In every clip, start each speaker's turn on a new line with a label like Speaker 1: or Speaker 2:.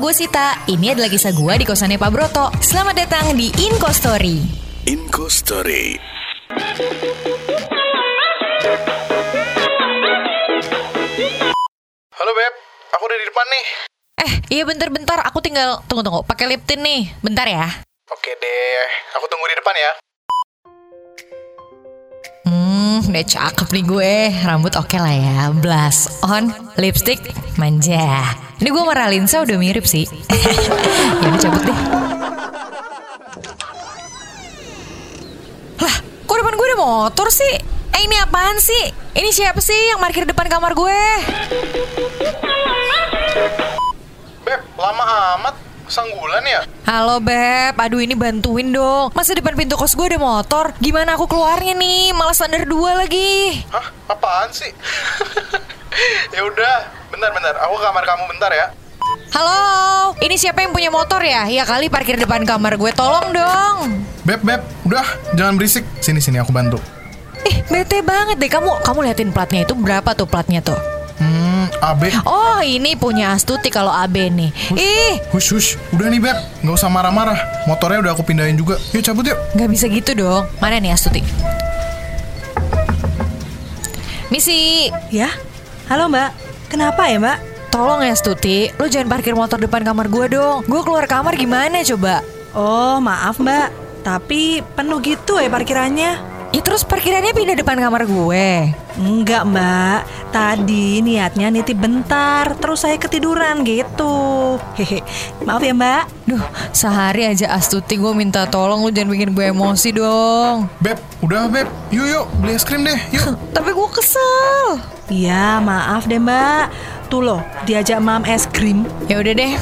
Speaker 1: gue Sita. Ini adalah kisah gue di kosannya Pak Broto. Selamat datang di Inko Story.
Speaker 2: Inco Story.
Speaker 3: Halo Beb, aku udah di depan nih.
Speaker 1: Eh, iya bentar-bentar. Aku tinggal tunggu-tunggu. Pakai lip tint nih. Bentar ya.
Speaker 3: Oke deh, aku tunggu di depan ya.
Speaker 1: Hmm, udah cakep nih gue. Rambut oke lah ya. Blush on, lipstick, manja. Ini gue sama Ralinsa udah mirip sih. ya udah cabut deh. Lah, kok depan gue ada motor sih? Eh ini apaan sih? Ini siapa sih yang parkir depan kamar gue?
Speaker 3: Beb, lama amat. Sanggulan ya?
Speaker 1: Halo Beb, aduh ini bantuin dong Masa depan pintu kos gue ada motor? Gimana aku keluarnya nih? Malah standar dua lagi
Speaker 3: Hah, apaan sih? ya udah, bentar-bentar. Aku ke kamar kamu bentar ya.
Speaker 1: Halo, ini siapa yang punya motor ya? Ya kali parkir depan kamar gue, tolong dong.
Speaker 3: Beb, Beb, udah, jangan berisik. Sini sini aku bantu.
Speaker 1: Ih, bete banget deh kamu. Kamu liatin platnya itu berapa tuh platnya tuh?
Speaker 3: Hmm, AB.
Speaker 1: Oh, ini punya Astuti kalau AB nih. Ih,
Speaker 3: Hush, hush. Udah nih Beb, nggak usah marah-marah. Motornya udah aku pindahin juga. Yuk cabut yuk.
Speaker 1: nggak bisa gitu dong. Mana nih Astuti? Misi,
Speaker 4: Ya? Halo mbak, kenapa ya mbak?
Speaker 1: tolong ya Astuti, lu jangan parkir motor depan kamar gue dong. Gue keluar kamar gimana coba?
Speaker 4: Oh maaf mbak, tapi penuh gitu ya parkirannya?
Speaker 1: Ya terus parkirannya pindah depan kamar gue.
Speaker 4: Enggak mbak, tadi niatnya nitip bentar, terus saya ketiduran gitu Hehe, maaf ya mbak
Speaker 1: Duh, sehari aja Astuti gue minta tolong lu jangan bikin gue emosi dong.
Speaker 3: Beb, udah Beb. Yuk yuk, beli es krim deh. Yuk.
Speaker 1: Tapi gue kesel.
Speaker 4: Ya maaf deh mbak, tuh loh diajak mam es krim
Speaker 1: Ya udah deh.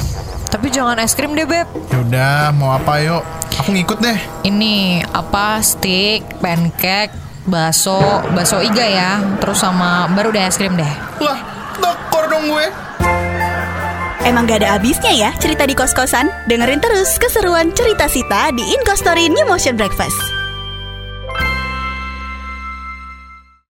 Speaker 1: Tapi jangan es krim deh beb.
Speaker 3: ya udah, mau apa yuk? Aku ngikut deh.
Speaker 1: Ini apa? Stick, pancake, bakso, bakso iga ya. Terus sama baru deh es krim deh.
Speaker 3: Lah, tekor dong gue.
Speaker 5: Emang gak ada habisnya ya cerita di kos-kosan? Dengerin terus keseruan cerita Sita di Inkostory New Motion Breakfast.